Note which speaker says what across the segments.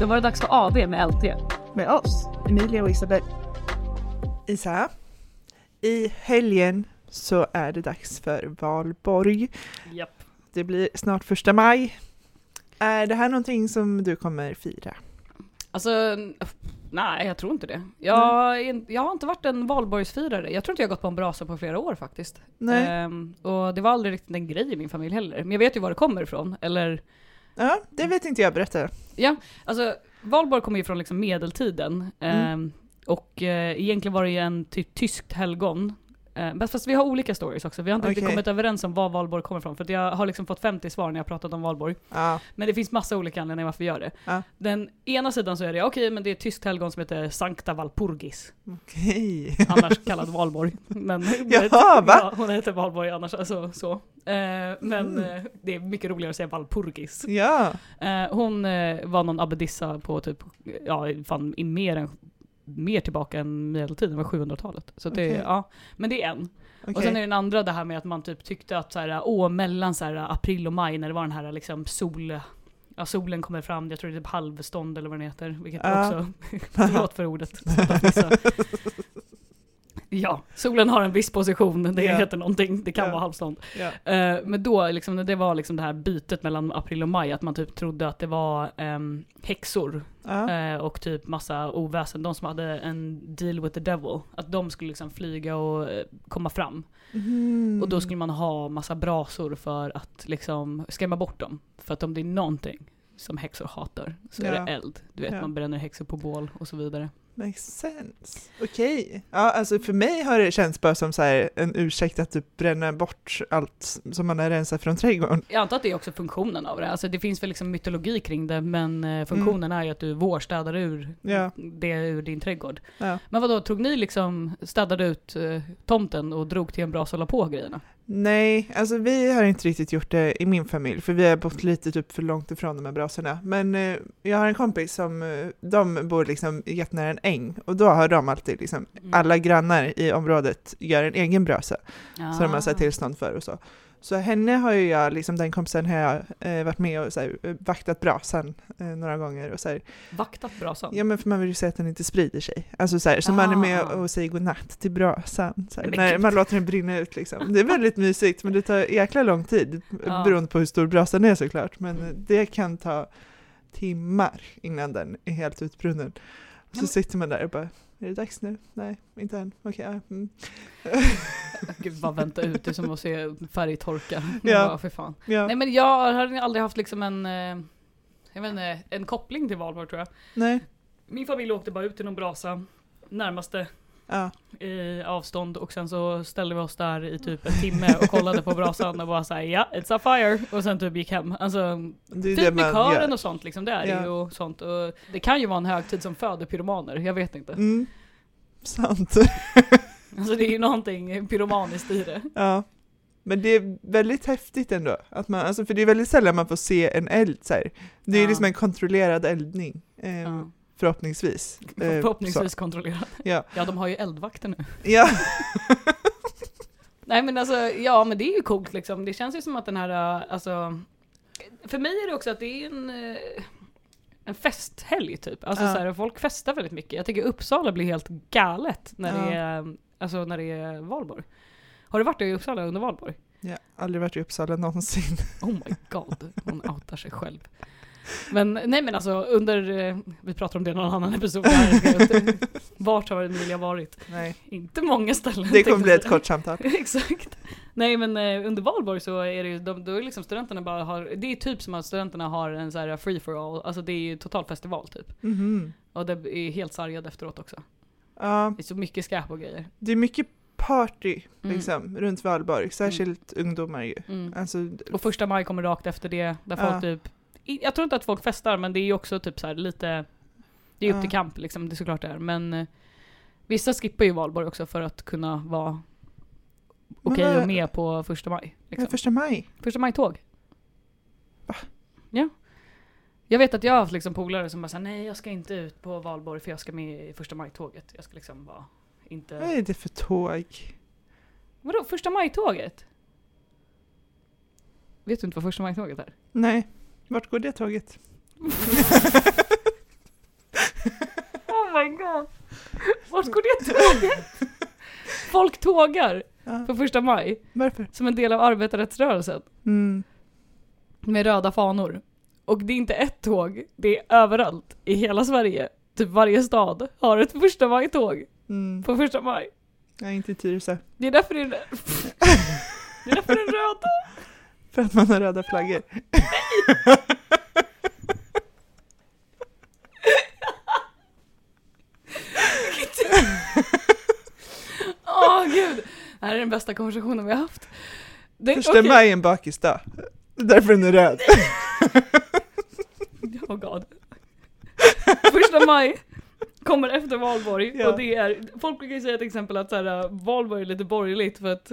Speaker 1: Då var det dags för AV med LT.
Speaker 2: med oss, Emilia och Isabel. Isa, i helgen så är det dags för valborg.
Speaker 1: Japp.
Speaker 2: Det blir snart första maj. Är det här någonting som du kommer fira?
Speaker 1: Alltså, n- nej jag tror inte det. Jag, är in- jag har inte varit en valborgsfirare. Jag tror inte jag har gått på en brasa på flera år faktiskt.
Speaker 2: Nej?
Speaker 1: Ehm, och det var aldrig riktigt en grej i min familj heller. Men jag vet ju var det kommer ifrån. Eller,
Speaker 2: Ja, det vet inte jag. Berätta.
Speaker 1: alltså valborg kommer ju från liksom medeltiden.
Speaker 2: Mm.
Speaker 1: Ehm, och eh, egentligen var det ju en ty- tyskt helgon. Ehm, men fast vi har olika stories också. Vi har inte riktigt
Speaker 2: Okej.
Speaker 1: kommit överens om var valborg kommer ifrån. För att jag har liksom fått 50 svar när jag har pratat om valborg.
Speaker 2: Ja,
Speaker 1: Men det finns massa olika anledningar varför vi gör det.
Speaker 2: Ja.
Speaker 1: Den ena sidan så är det, okej men det är ett tyskt helgon som heter Sankta Valpurgis.
Speaker 2: okej.
Speaker 1: Annars kallad Valborg. Men,
Speaker 2: Jaha, va?
Speaker 1: Ja, hon heter Valborg annars, alltså så. Eh, men
Speaker 2: Mm.
Speaker 1: eh, det är mycket roligare att säga Valpurgis.
Speaker 2: Ja,
Speaker 1: Eh, hon eh, var någon abbedissa på typ, ja fan i mer än mer tillbaka än medeltiden, var 700-talet. Så det,
Speaker 2: Okej.
Speaker 1: ja. Men det är en.
Speaker 2: okej.
Speaker 1: Och sen är den andra det här med att man typ tyckte att så här, åh, mellan så här, april och maj när det var den här liksom sol, ja, solen kommer fram, jag tror det är typ halvstånd eller vad den heter, vilket
Speaker 2: Ja.
Speaker 1: också, förlåt för ordet. sluta fnissa. Ja, solen har en viss position, det
Speaker 2: Ja.
Speaker 1: heter någonting, det kan
Speaker 2: Ja.
Speaker 1: vara halvstånd.
Speaker 2: Ja.
Speaker 1: Eh, men då, liksom, när det var liksom det här bytet mellan april och maj, att man typ trodde att det var um, häxor
Speaker 2: Ja.
Speaker 1: Eh, och typ massa oväsen, de som hade en deal with the devil, att de skulle liksom flyga och eh, komma fram.
Speaker 2: Mm.
Speaker 1: Och då skulle man ha massa brasor för att liksom skrämma bort dem. För att om det är någonting som häxor hatar så
Speaker 2: Ja.
Speaker 1: är det eld. Du vet,
Speaker 2: Ja.
Speaker 1: man bränner häxor på bål och så vidare.
Speaker 2: Makes sense. Okej. Ja, alltså för mig har det känts bara som så här en ursäkt att typ bränna bort allt som man har rensat från trädgården.
Speaker 1: Jag antar att det är också funktionen av det. Alltså det finns väl liksom mytologi kring det, men eh, funktionen är ju att du vårstädar ur
Speaker 2: Mm. Ja.
Speaker 1: det ur din trädgård.
Speaker 2: Ja.
Speaker 1: Men vadå, tog ni liksom, städade ut eh, tomten och drog till en brasa och la på grejerna?
Speaker 2: Nej, alltså vi har inte riktigt gjort det i min familj för vi har bott lite typ för långt ifrån de här brasorna. Men eh, jag har en kompis som, eh, de bor liksom jättenära en äng och då har de alltid liksom,
Speaker 1: Mm.
Speaker 2: alla grannar i området gör en egen brasa som de har så här,
Speaker 1: Ah.
Speaker 2: tillstånd för och så. Så henne har ju jag, liksom den kompisen har jag eh, varit med och så här, eh, vaktat brasan eh, några gånger och så här,
Speaker 1: Ah. Vaktat brasan?
Speaker 2: ja men för man vill ju se att den inte sprider sig. Alltså så här, så man är med
Speaker 1: Ah.
Speaker 2: och säger godnatt till brasan, så här,
Speaker 1: Men
Speaker 2: när
Speaker 1: gud.
Speaker 2: man låter den brinna ut liksom. Det är väldigt mysigt men det tar jäkla lång tid
Speaker 1: Ja.
Speaker 2: beroende på hur stor brasan är såklart. Men det kan ta timmar innan den är helt utbrunnen.
Speaker 1: Ja,
Speaker 2: Så
Speaker 1: men-
Speaker 2: sitter man där och bara, är det dags nu? Nej, inte än. Okej, ja, mm.
Speaker 1: Gud, bara vänta ut, det är som att se färgtorka.
Speaker 2: Ja.
Speaker 1: Ja. För fan.
Speaker 2: ja,
Speaker 1: Nej men jag har aldrig haft liksom en, eh, jag vet inte, en koppling till valborg tror jag.
Speaker 2: nej,
Speaker 1: Min familj åkte bara ut till någon brasa, närmaste
Speaker 2: ja,
Speaker 1: eh, avstånd och sen så ställde vi oss där i typ en timme och kollade på brasan och bara såhär ja, it's a fire och sen typ gick hem. Alltså,
Speaker 2: det är det
Speaker 1: fint med
Speaker 2: man
Speaker 1: kören
Speaker 2: gör.
Speaker 1: och sånt liksom, det är
Speaker 2: Ja.
Speaker 1: ju och sånt. Och det kan ju vara en högtid som föder pyromaner, jag vet inte.
Speaker 2: Mm. Sant.
Speaker 1: Alltså det är ju någonting pyromaniskt i det.
Speaker 2: Ja. Men det är väldigt häftigt ändå, att man, alltså, för det är väldigt sällan man får se en eld så här. Det är ju
Speaker 1: Ja.
Speaker 2: liksom en kontrollerad eldning, eh,
Speaker 1: Ja.
Speaker 2: förhoppningsvis. Eh,
Speaker 1: Förhoppningsvis kontrollerat.
Speaker 2: Ja.
Speaker 1: ja, de har ju eldvakter nu.
Speaker 2: så. Ja,
Speaker 1: Nej men alltså, ja men det är ju coolt liksom. Det känns ju som att den här, äh, alltså, för mig är det också att det är en, eh, en festhelg typ. Alltså
Speaker 2: Ja.
Speaker 1: så här, folk festar väldigt mycket. Jag tycker Uppsala blir helt galet när, det,
Speaker 2: Ja.
Speaker 1: är, alltså, när det är valborg. Har du varit i Uppsala under valborg?
Speaker 2: jag har aldrig varit i Uppsala någonsin.
Speaker 1: Oh my god, hon outar sig själv. Men nej men alltså under, eh, vi pratar om det i någon annan episod. Här, vart har Emilia varit?
Speaker 2: Nej.
Speaker 1: Inte många ställen.
Speaker 2: Det
Speaker 1: tänkte
Speaker 2: kommer
Speaker 1: jag
Speaker 2: bli ett
Speaker 1: säga.
Speaker 2: kort samtal.
Speaker 1: Exakt. Nej men eh, under valborg så är det ju, de, då är det liksom studenterna bara har, det är typ som att studenterna har en så här free for all, alltså det är ju total festival typ.
Speaker 2: Mhm.
Speaker 1: Och det är helt sargad efteråt också.
Speaker 2: Ja,
Speaker 1: Det är så mycket skräp och grejer.
Speaker 2: det är mycket party
Speaker 1: Mm.
Speaker 2: liksom, runt Valborg, särskilt ungdomar ju.
Speaker 1: Mm.
Speaker 2: Alltså,
Speaker 1: Och första maj kommer rakt efter det, där folk
Speaker 2: Ja.
Speaker 1: typ, i- jag tror inte att folk festar men det är ju också typ så här lite, det är upp
Speaker 2: Ja.
Speaker 1: till kamp liksom, det är såklart det är. Men eh, vissa skippar ju valborg också för att kunna vara
Speaker 2: Men
Speaker 1: okej
Speaker 2: vad-
Speaker 1: och med på första maj.
Speaker 2: men
Speaker 1: Liksom.
Speaker 2: första maj.
Speaker 1: Första maj-tåg. Ja. Jag vet att jag har haft liksom polare som bara sa nej jag ska inte ut på valborg för jag ska med i första maj-tåget. Jag ska liksom vara inte...
Speaker 2: Vad är det för tåg?
Speaker 1: Vadå första maj-tåget? Vet du inte vad första maj-tåget är?
Speaker 2: Nej, vart går det tåget?
Speaker 1: Vart går det tåget? Folk tågar
Speaker 2: Ja.
Speaker 1: på första maj
Speaker 2: Varför?
Speaker 1: som en del av arbetarrättsrörelsen
Speaker 2: Mm.
Speaker 1: med röda fanor. Och det är inte ett tåg, det är överallt i hela Sverige. Typ varje stad har ett första maj-tåg
Speaker 2: Mm.
Speaker 1: på första maj.
Speaker 2: Nej, inte i Tyresö.
Speaker 1: Det är därför det är, det är, därför det är röda.
Speaker 2: För att man har röda flaggor.
Speaker 1: Åh gud! Det här är den bästa konversationen vi har haft. Det,
Speaker 2: Första
Speaker 1: okej.
Speaker 2: maj är en bakisdag. Det är därför den är röd.
Speaker 1: Oh god. Första maj kommer efter valborg
Speaker 2: Ja.
Speaker 1: och det är, folk brukar ju säga till exempel att så här, äh, valborg är lite borgerligt för att,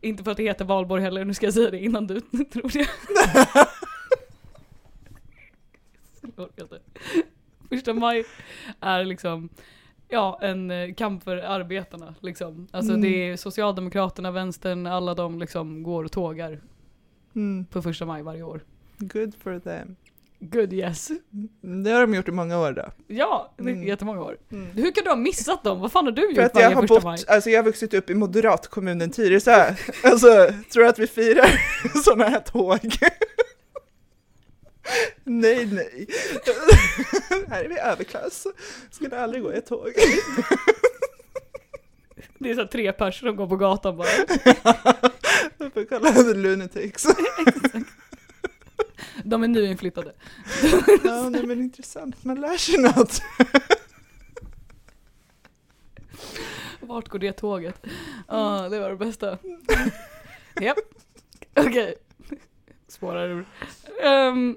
Speaker 1: inte för att det heter valborg heller, nu ska jag säga det innan du tror det. Jag orkar inte. Första maj är liksom, ja en eh, kamp för arbetarna liksom. Alltså
Speaker 2: Mm.
Speaker 1: det är Socialdemokraterna, Vänstern, alla de liksom går och tågar
Speaker 2: Mm.
Speaker 1: på första maj varje år.
Speaker 2: Good for them.
Speaker 1: Good yes.
Speaker 2: Det har de gjort i många år då.
Speaker 1: Ja, det är
Speaker 2: Mm.
Speaker 1: jättemånga år.
Speaker 2: Mm.
Speaker 1: Hur kan du ha missat dem? Vad fan har du gjort
Speaker 2: För att
Speaker 1: varje
Speaker 2: jag har
Speaker 1: första maj?
Speaker 2: bott, alltså jag har vuxit upp i moderatkommunen Tyresö. Alltså, tror du att vi firar sådana här tåg? Nej, nej. Här är vi överklass. Skulle aldrig gå i ett tåg.
Speaker 1: Det är så här tre personer som går på gatan bara.
Speaker 2: Vi får kalla det lunatics.
Speaker 1: De är nyinflyttade.
Speaker 2: Ja, nej, men intressant, man lär sig något.
Speaker 1: Vart går det tåget? Ja, det var det bästa. Japp. Okej. Spårar ur. Ehm,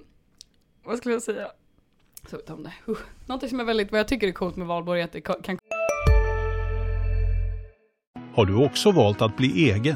Speaker 1: vad skulle jag säga? Så vi tar om det. Uh. Någonting som är väldigt, vad jag tycker är coolt med valborg är att det ka- kan
Speaker 3: Har du också valt att bli egen?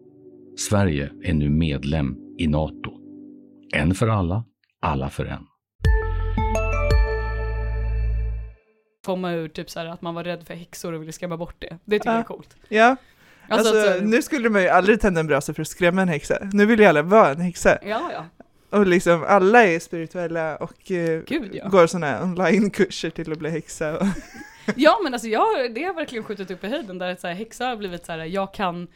Speaker 4: Sverige är nu medlem i Nato. En för alla, alla för en.
Speaker 1: komma ur typ så här att man var rädd för häxor och ville skrämma bort det. Det tycker
Speaker 2: Ja.
Speaker 1: jag är coolt.
Speaker 2: Ja,
Speaker 1: Alltså,
Speaker 2: alltså,
Speaker 1: att, så här-
Speaker 2: nu skulle man ju aldrig tända en brasa för att skrämma en häxa. Nu vill ju alla vara en häxa.
Speaker 1: Ja, ja.
Speaker 2: Och liksom alla är spirituella och eh,
Speaker 1: Gud, ja.
Speaker 2: går sådana här online-kurser till att bli häxa. Och,
Speaker 1: Ja men alltså jag, det har verkligen skjutit upp i höjden där så här, häxa har blivit så här, jag kan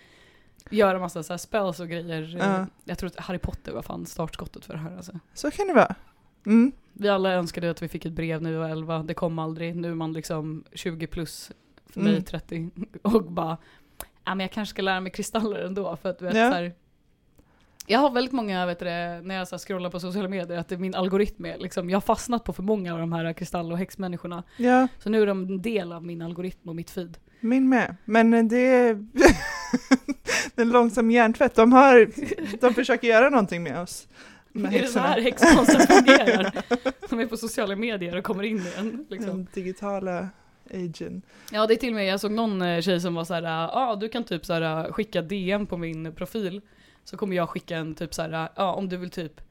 Speaker 1: göra massa så här spells och grejer. Eh,
Speaker 2: Ja.
Speaker 1: Jag tror att Harry Potter var fan startskottet för det här alltså.
Speaker 2: så kan det vara. Mm.
Speaker 1: Vi alla önskade att vi fick ett brev när vi var 11, det kom aldrig. Nu är man liksom 20 plus, för mig
Speaker 2: Mm.
Speaker 1: 30, och bara ja men jag kanske ska lära mig kristaller ändå för att du vet
Speaker 2: Ja.
Speaker 1: så här, jag har väldigt många, vet du det, när jag så här scrollar på sociala medier, att det är min algoritm är liksom, jag har fastnat på för många av de här kristall och häxmänniskorna.
Speaker 2: Ja,
Speaker 1: Så nu är de en del av min algoritm och mitt feed.
Speaker 2: min med. Men eh, det är den långsam hjärntvätt. De, har, de försöker göra någonting med oss. Med
Speaker 1: det är så
Speaker 2: häxorna.
Speaker 1: här häxkonsten fungerar. De är på sociala medier och kommer in i
Speaker 2: Mm.
Speaker 1: en. Liksom.
Speaker 2: Den digitala agen.
Speaker 1: Ja det är till och med, jag såg någon eh, tjej som var så här, ja ah, du kan typ så här, skicka DM på min profil. Så kommer jag skicka en typ så här, ja om du vill typ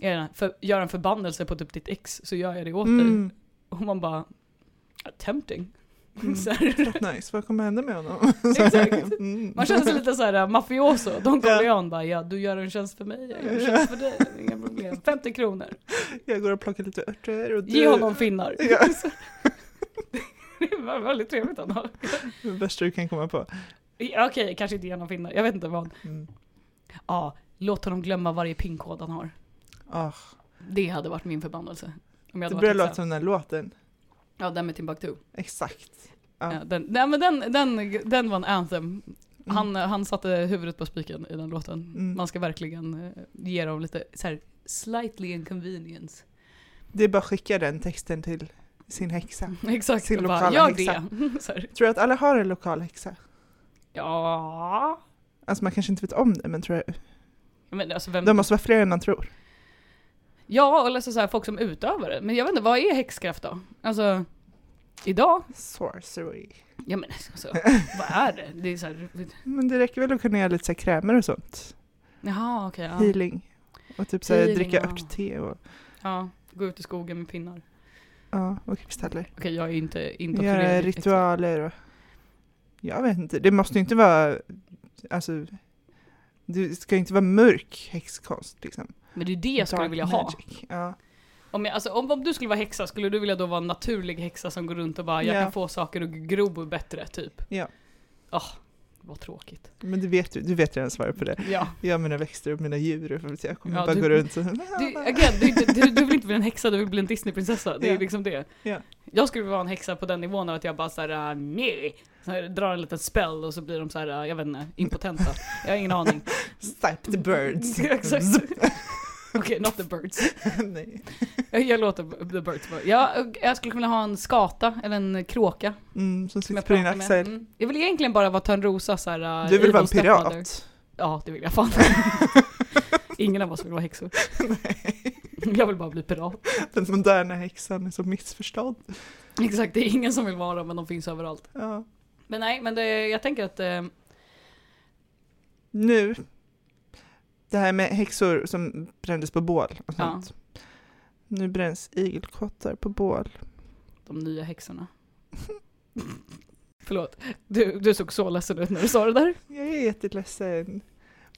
Speaker 1: eh, för, göra en förbannelse på typ ditt ex så gör jag det åt dig.
Speaker 2: Mm.
Speaker 1: Och man bara, tempting.
Speaker 2: Mm.
Speaker 1: så här,
Speaker 2: Nice, vad kommer hända med honom?
Speaker 1: Exakt.
Speaker 2: Mm.
Speaker 1: man känner sig lite så här eh, mafioso, Don
Speaker 2: Ja.
Speaker 1: Corleone bara ja du gör en tjänst för mig, jag gör en tjänst för dig, inga problem. 50 kronor,
Speaker 2: Jag går och plockar lite örter och du...
Speaker 1: ge honom finnar.
Speaker 2: Ja.
Speaker 1: Det var väldigt trevligt ändå.
Speaker 2: Det värsta du kan komma på.
Speaker 1: Ja, Okej, kanske inte genom finnar. Jag vet inte vad.
Speaker 2: Mm.
Speaker 1: Ja, låt honom glömma varje pinkod han har.
Speaker 2: Ah,
Speaker 1: Det hade varit min förbannelse. Om jag
Speaker 2: det
Speaker 1: hade
Speaker 2: börjar
Speaker 1: varit
Speaker 2: låta
Speaker 1: låta...
Speaker 2: som den här låten.
Speaker 1: Ja, den med Timbuktu.
Speaker 2: Exakt.
Speaker 1: Ja.
Speaker 2: Ja.
Speaker 1: den, nej, men den, den, den var en anthem.
Speaker 2: Mm.
Speaker 1: Han, han satte huvudet på spiken i den låten.
Speaker 2: Mm.
Speaker 1: Man ska verkligen eh, ge dem lite så här, slightly inconvenience.
Speaker 2: Det är bara att skicka den texten till sin häxa.
Speaker 1: Exakt.
Speaker 2: Sin
Speaker 1: och bara,
Speaker 2: lokala
Speaker 1: Gör
Speaker 2: häxa."
Speaker 1: det. Så här,
Speaker 2: Tror du att alla har en lokal häxa?
Speaker 1: ja.
Speaker 2: Alltså man kanske inte vet om det, men tror jag.
Speaker 1: Men alltså vem...
Speaker 2: De måste vara fler än man tror.
Speaker 1: Ja, eller så, så här, folk som utövar det. Men jag vet inte, vad är häxkraft då? Alltså, Idag?
Speaker 2: Sorcery.
Speaker 1: Ja men alltså, vad är det? Det är så här,
Speaker 2: Men det räcker väl att kunna göra lite så här krämer och sånt.
Speaker 1: jaha okej. ja.
Speaker 2: Healing. Och typ så här,
Speaker 1: Healing,
Speaker 2: dricka
Speaker 1: ja.
Speaker 2: örtte och,
Speaker 1: ja. Gå ut i skogen med pinnar.
Speaker 2: ja, och kristaller.
Speaker 1: Okej jag är inte
Speaker 2: Göra
Speaker 1: indoktrinerad.
Speaker 2: ritualer och... Jag vet inte, det måste ju inte vara... Alltså... Det ska ju inte vara mörk häxkonst liksom.
Speaker 1: Men det är det jag skulle
Speaker 2: Dark
Speaker 1: vilja ha.
Speaker 2: magic, Ja.
Speaker 1: Om, jag, alltså, om, om du skulle vara häxa, skulle du vilja då vara en naturlig häxa som går runt och bara jag
Speaker 2: Ja.
Speaker 1: kan få saker att gro bättre typ?
Speaker 2: Ja.
Speaker 1: Ah, vad tråkigt.
Speaker 2: Men du vet ju, du vet redan svaret på det.
Speaker 1: Ja.
Speaker 2: Jag har mina växter och mina djur och jag kommer
Speaker 1: Ja,
Speaker 2: bara
Speaker 1: du-
Speaker 2: gå runt och...
Speaker 1: Du, again, du, är inte- du, du vill inte bli en häxa, du vill bli en Disneyprinsessa. Det är
Speaker 2: Ja.
Speaker 1: liksom det.
Speaker 2: Ja.
Speaker 1: Jag skulle vilja vara en häxa på den nivån av att jag bara såhär, nej. Så här, drar en liten spell och så blir de så här, äh, jag vet inte, impotenta. Jag har ingen aning.
Speaker 2: Snipe the birds.
Speaker 1: Exakt. Okej, not the birds.
Speaker 2: Nej.
Speaker 1: Jag, jag låter b- the birds vara. Jag, jag skulle kunna ha en skata eller en kråka.
Speaker 2: Mm,
Speaker 1: Som
Speaker 2: som sitter
Speaker 1: jag
Speaker 2: på din
Speaker 1: pratar med.
Speaker 2: axel.
Speaker 1: Mm. Jag vill egentligen bara vara Törnrosa såhär...
Speaker 2: Du vill vara en pirat.
Speaker 1: Ja, det vill jag fan. Ingen av oss vill vara häxor. Jag vill bara bli pirat.
Speaker 2: Den moderna häxan är så missförstådd.
Speaker 1: Exakt, det är ingen som vill vara dem men de finns överallt.
Speaker 2: Ja.
Speaker 1: Men nej, men det, jag tänker att eh,
Speaker 2: Nu, det här med häxor som brändes på bål och
Speaker 1: Ja.
Speaker 2: sånt. Nu bränns igelkottar på bål.
Speaker 1: de nya häxorna. Förlåt, du, du såg så ledsen ut när du sa det där.
Speaker 2: Jag är jätteledsen.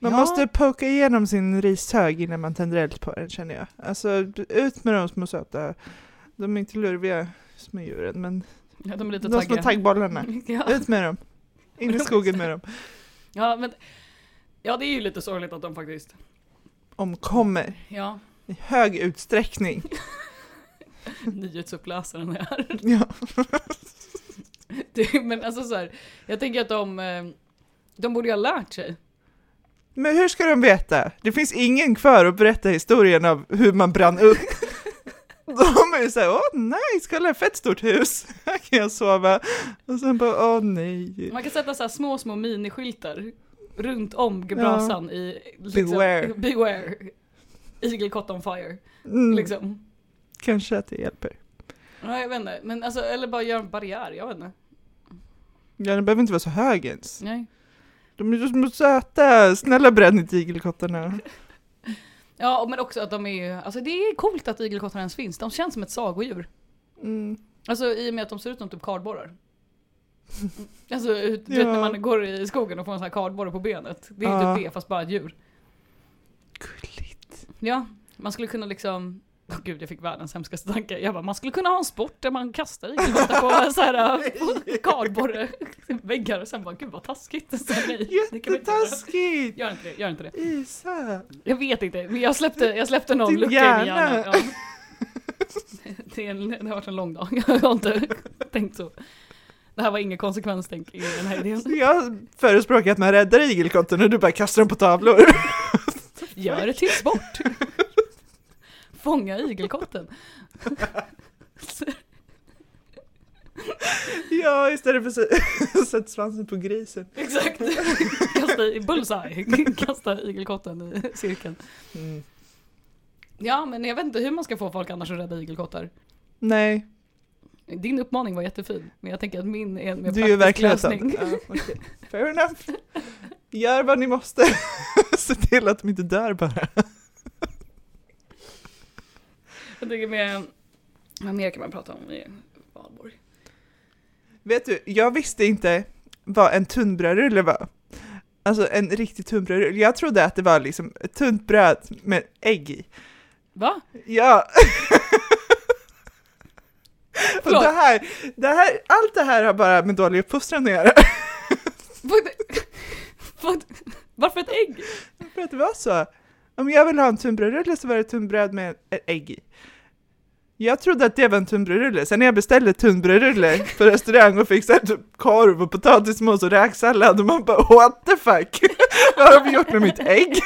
Speaker 2: Man
Speaker 1: Ja.
Speaker 2: måste poka igenom sin rishög innan man tänder eld på den känner jag. Alltså ut med de små söta, de är inte lurviga små djuren men
Speaker 1: Ja, de är lite
Speaker 2: de små
Speaker 1: taggiga.
Speaker 2: taggbollarna.
Speaker 1: ja.
Speaker 2: Ut med dem! In i skogen med dem.
Speaker 1: ja, men ja, det är ju lite sorgligt att de faktiskt,
Speaker 2: Omkommer
Speaker 1: ja,
Speaker 2: i hög utsträckning.
Speaker 1: nyhetsuppläsaren är.
Speaker 2: Ja.
Speaker 1: Det, men alltså så här, jag tänker att de, eh, de borde ju ha lärt sig.
Speaker 2: Men hur ska de veta? Det finns ingen kvar att berätta historien av hur man brann upp. De är ju såhär, åh nice, kolla ett fett stort hus, här kan jag sova. Och sen bara, åh nej.
Speaker 1: Man kan sätta så här små, små miniskyltar runt om brasan i liksom,
Speaker 2: Beware.
Speaker 1: beware. Igelkott on fire.
Speaker 2: Mm,
Speaker 1: Liksom.
Speaker 2: Kanske att det hjälper.
Speaker 1: Ja, jag vet inte. Men alltså, eller bara göra en barriär, jag vet inte.
Speaker 2: Ja, den behöver inte vara så hög ens.
Speaker 1: Nej.
Speaker 2: De är så små söta, snälla bränn inte igelkottarna.
Speaker 1: Ja, och men också att de är ju, alltså det är coolt att igelkottar ens finns. De känns som ett sagodjur.
Speaker 2: Mm.
Speaker 1: Alltså i och med att de ser ut som typ kardborrar. Alltså, ut, du vet
Speaker 2: Ja.
Speaker 1: när man går i skogen och får en sån här kardborre på benet. Det är ju
Speaker 2: Ja.
Speaker 1: typ det, fast bara ett djur.
Speaker 2: Gulligt.
Speaker 1: Ja, man skulle kunna liksom Åh gud, jag fick världens hemskaste tanke. Jag bara, man skulle kunna ha en sport där man kastar igelkottar på så här, äh, på kardborre, väggar och sen bara, gud vad taskigt. Så, nej, det kan vi inte göra.
Speaker 2: Jättetaskigt!
Speaker 1: Gör inte det, gör inte det.
Speaker 2: Isa!
Speaker 1: Jag vet inte, men jag släppte, jag släppte någon
Speaker 2: Din
Speaker 1: lucka i min
Speaker 2: hjärna.
Speaker 1: hjärna. Ja. Det, är en, det har varit en lång dag, jag har inte tänkt så. Det här var ingen konsekvenstänk i den här idén.
Speaker 2: Jag förespråkar att man räddar igelkottarna och du bara kastar dem på tavlor.
Speaker 1: Gör det till sport! Fånga igelkotten.
Speaker 2: Ja, istället för att sätta svansen på grisen.
Speaker 1: Exakt! Kasta i bullseye, kasta igelkotten i cirkeln.
Speaker 2: Mm.
Speaker 1: Ja, men jag vet inte hur man ska få folk annars att rädda igelkottar.
Speaker 2: Nej,
Speaker 1: Din uppmaning var jättefin, men jag tänker att min är en mer
Speaker 2: du är ju
Speaker 1: praktisk
Speaker 2: verkligen
Speaker 1: lösning.
Speaker 2: sån. Ja, okej. Fair enough. Gör vad ni måste. Se till att de inte dör bara.
Speaker 1: Jag tänker med, vad mer kan man prata om i Valborg?
Speaker 2: Vet du, jag visste inte vad en tunnbrödsrulle var. Alltså en riktig tunnbrödsrulle. Jag trodde att det var liksom ett tunt bröd med ägg i.
Speaker 1: Va?
Speaker 2: Ja. Och
Speaker 1: Förlåt.
Speaker 2: det här, det här, allt det här har bara med dålig uppfostran att göra.
Speaker 1: Vad- vad- Varför ett ägg?
Speaker 2: För att det var så. Om jag ville ha en tunnbrödsrulle så var det tunnbröd med ett ägg i. Jag trodde att det var en tunnbrödsrulle, sen när jag beställde tunnbrödsrulle på restaurang och fick så här typ korv och potatismos och räksallad och man bara what the fuck, vad har de gjort med mitt ägg?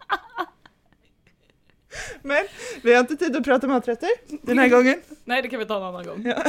Speaker 2: Men vi har inte tid att prata maträtter den här gången.
Speaker 1: Nej, det kan vi ta en annan gång.
Speaker 2: Ja.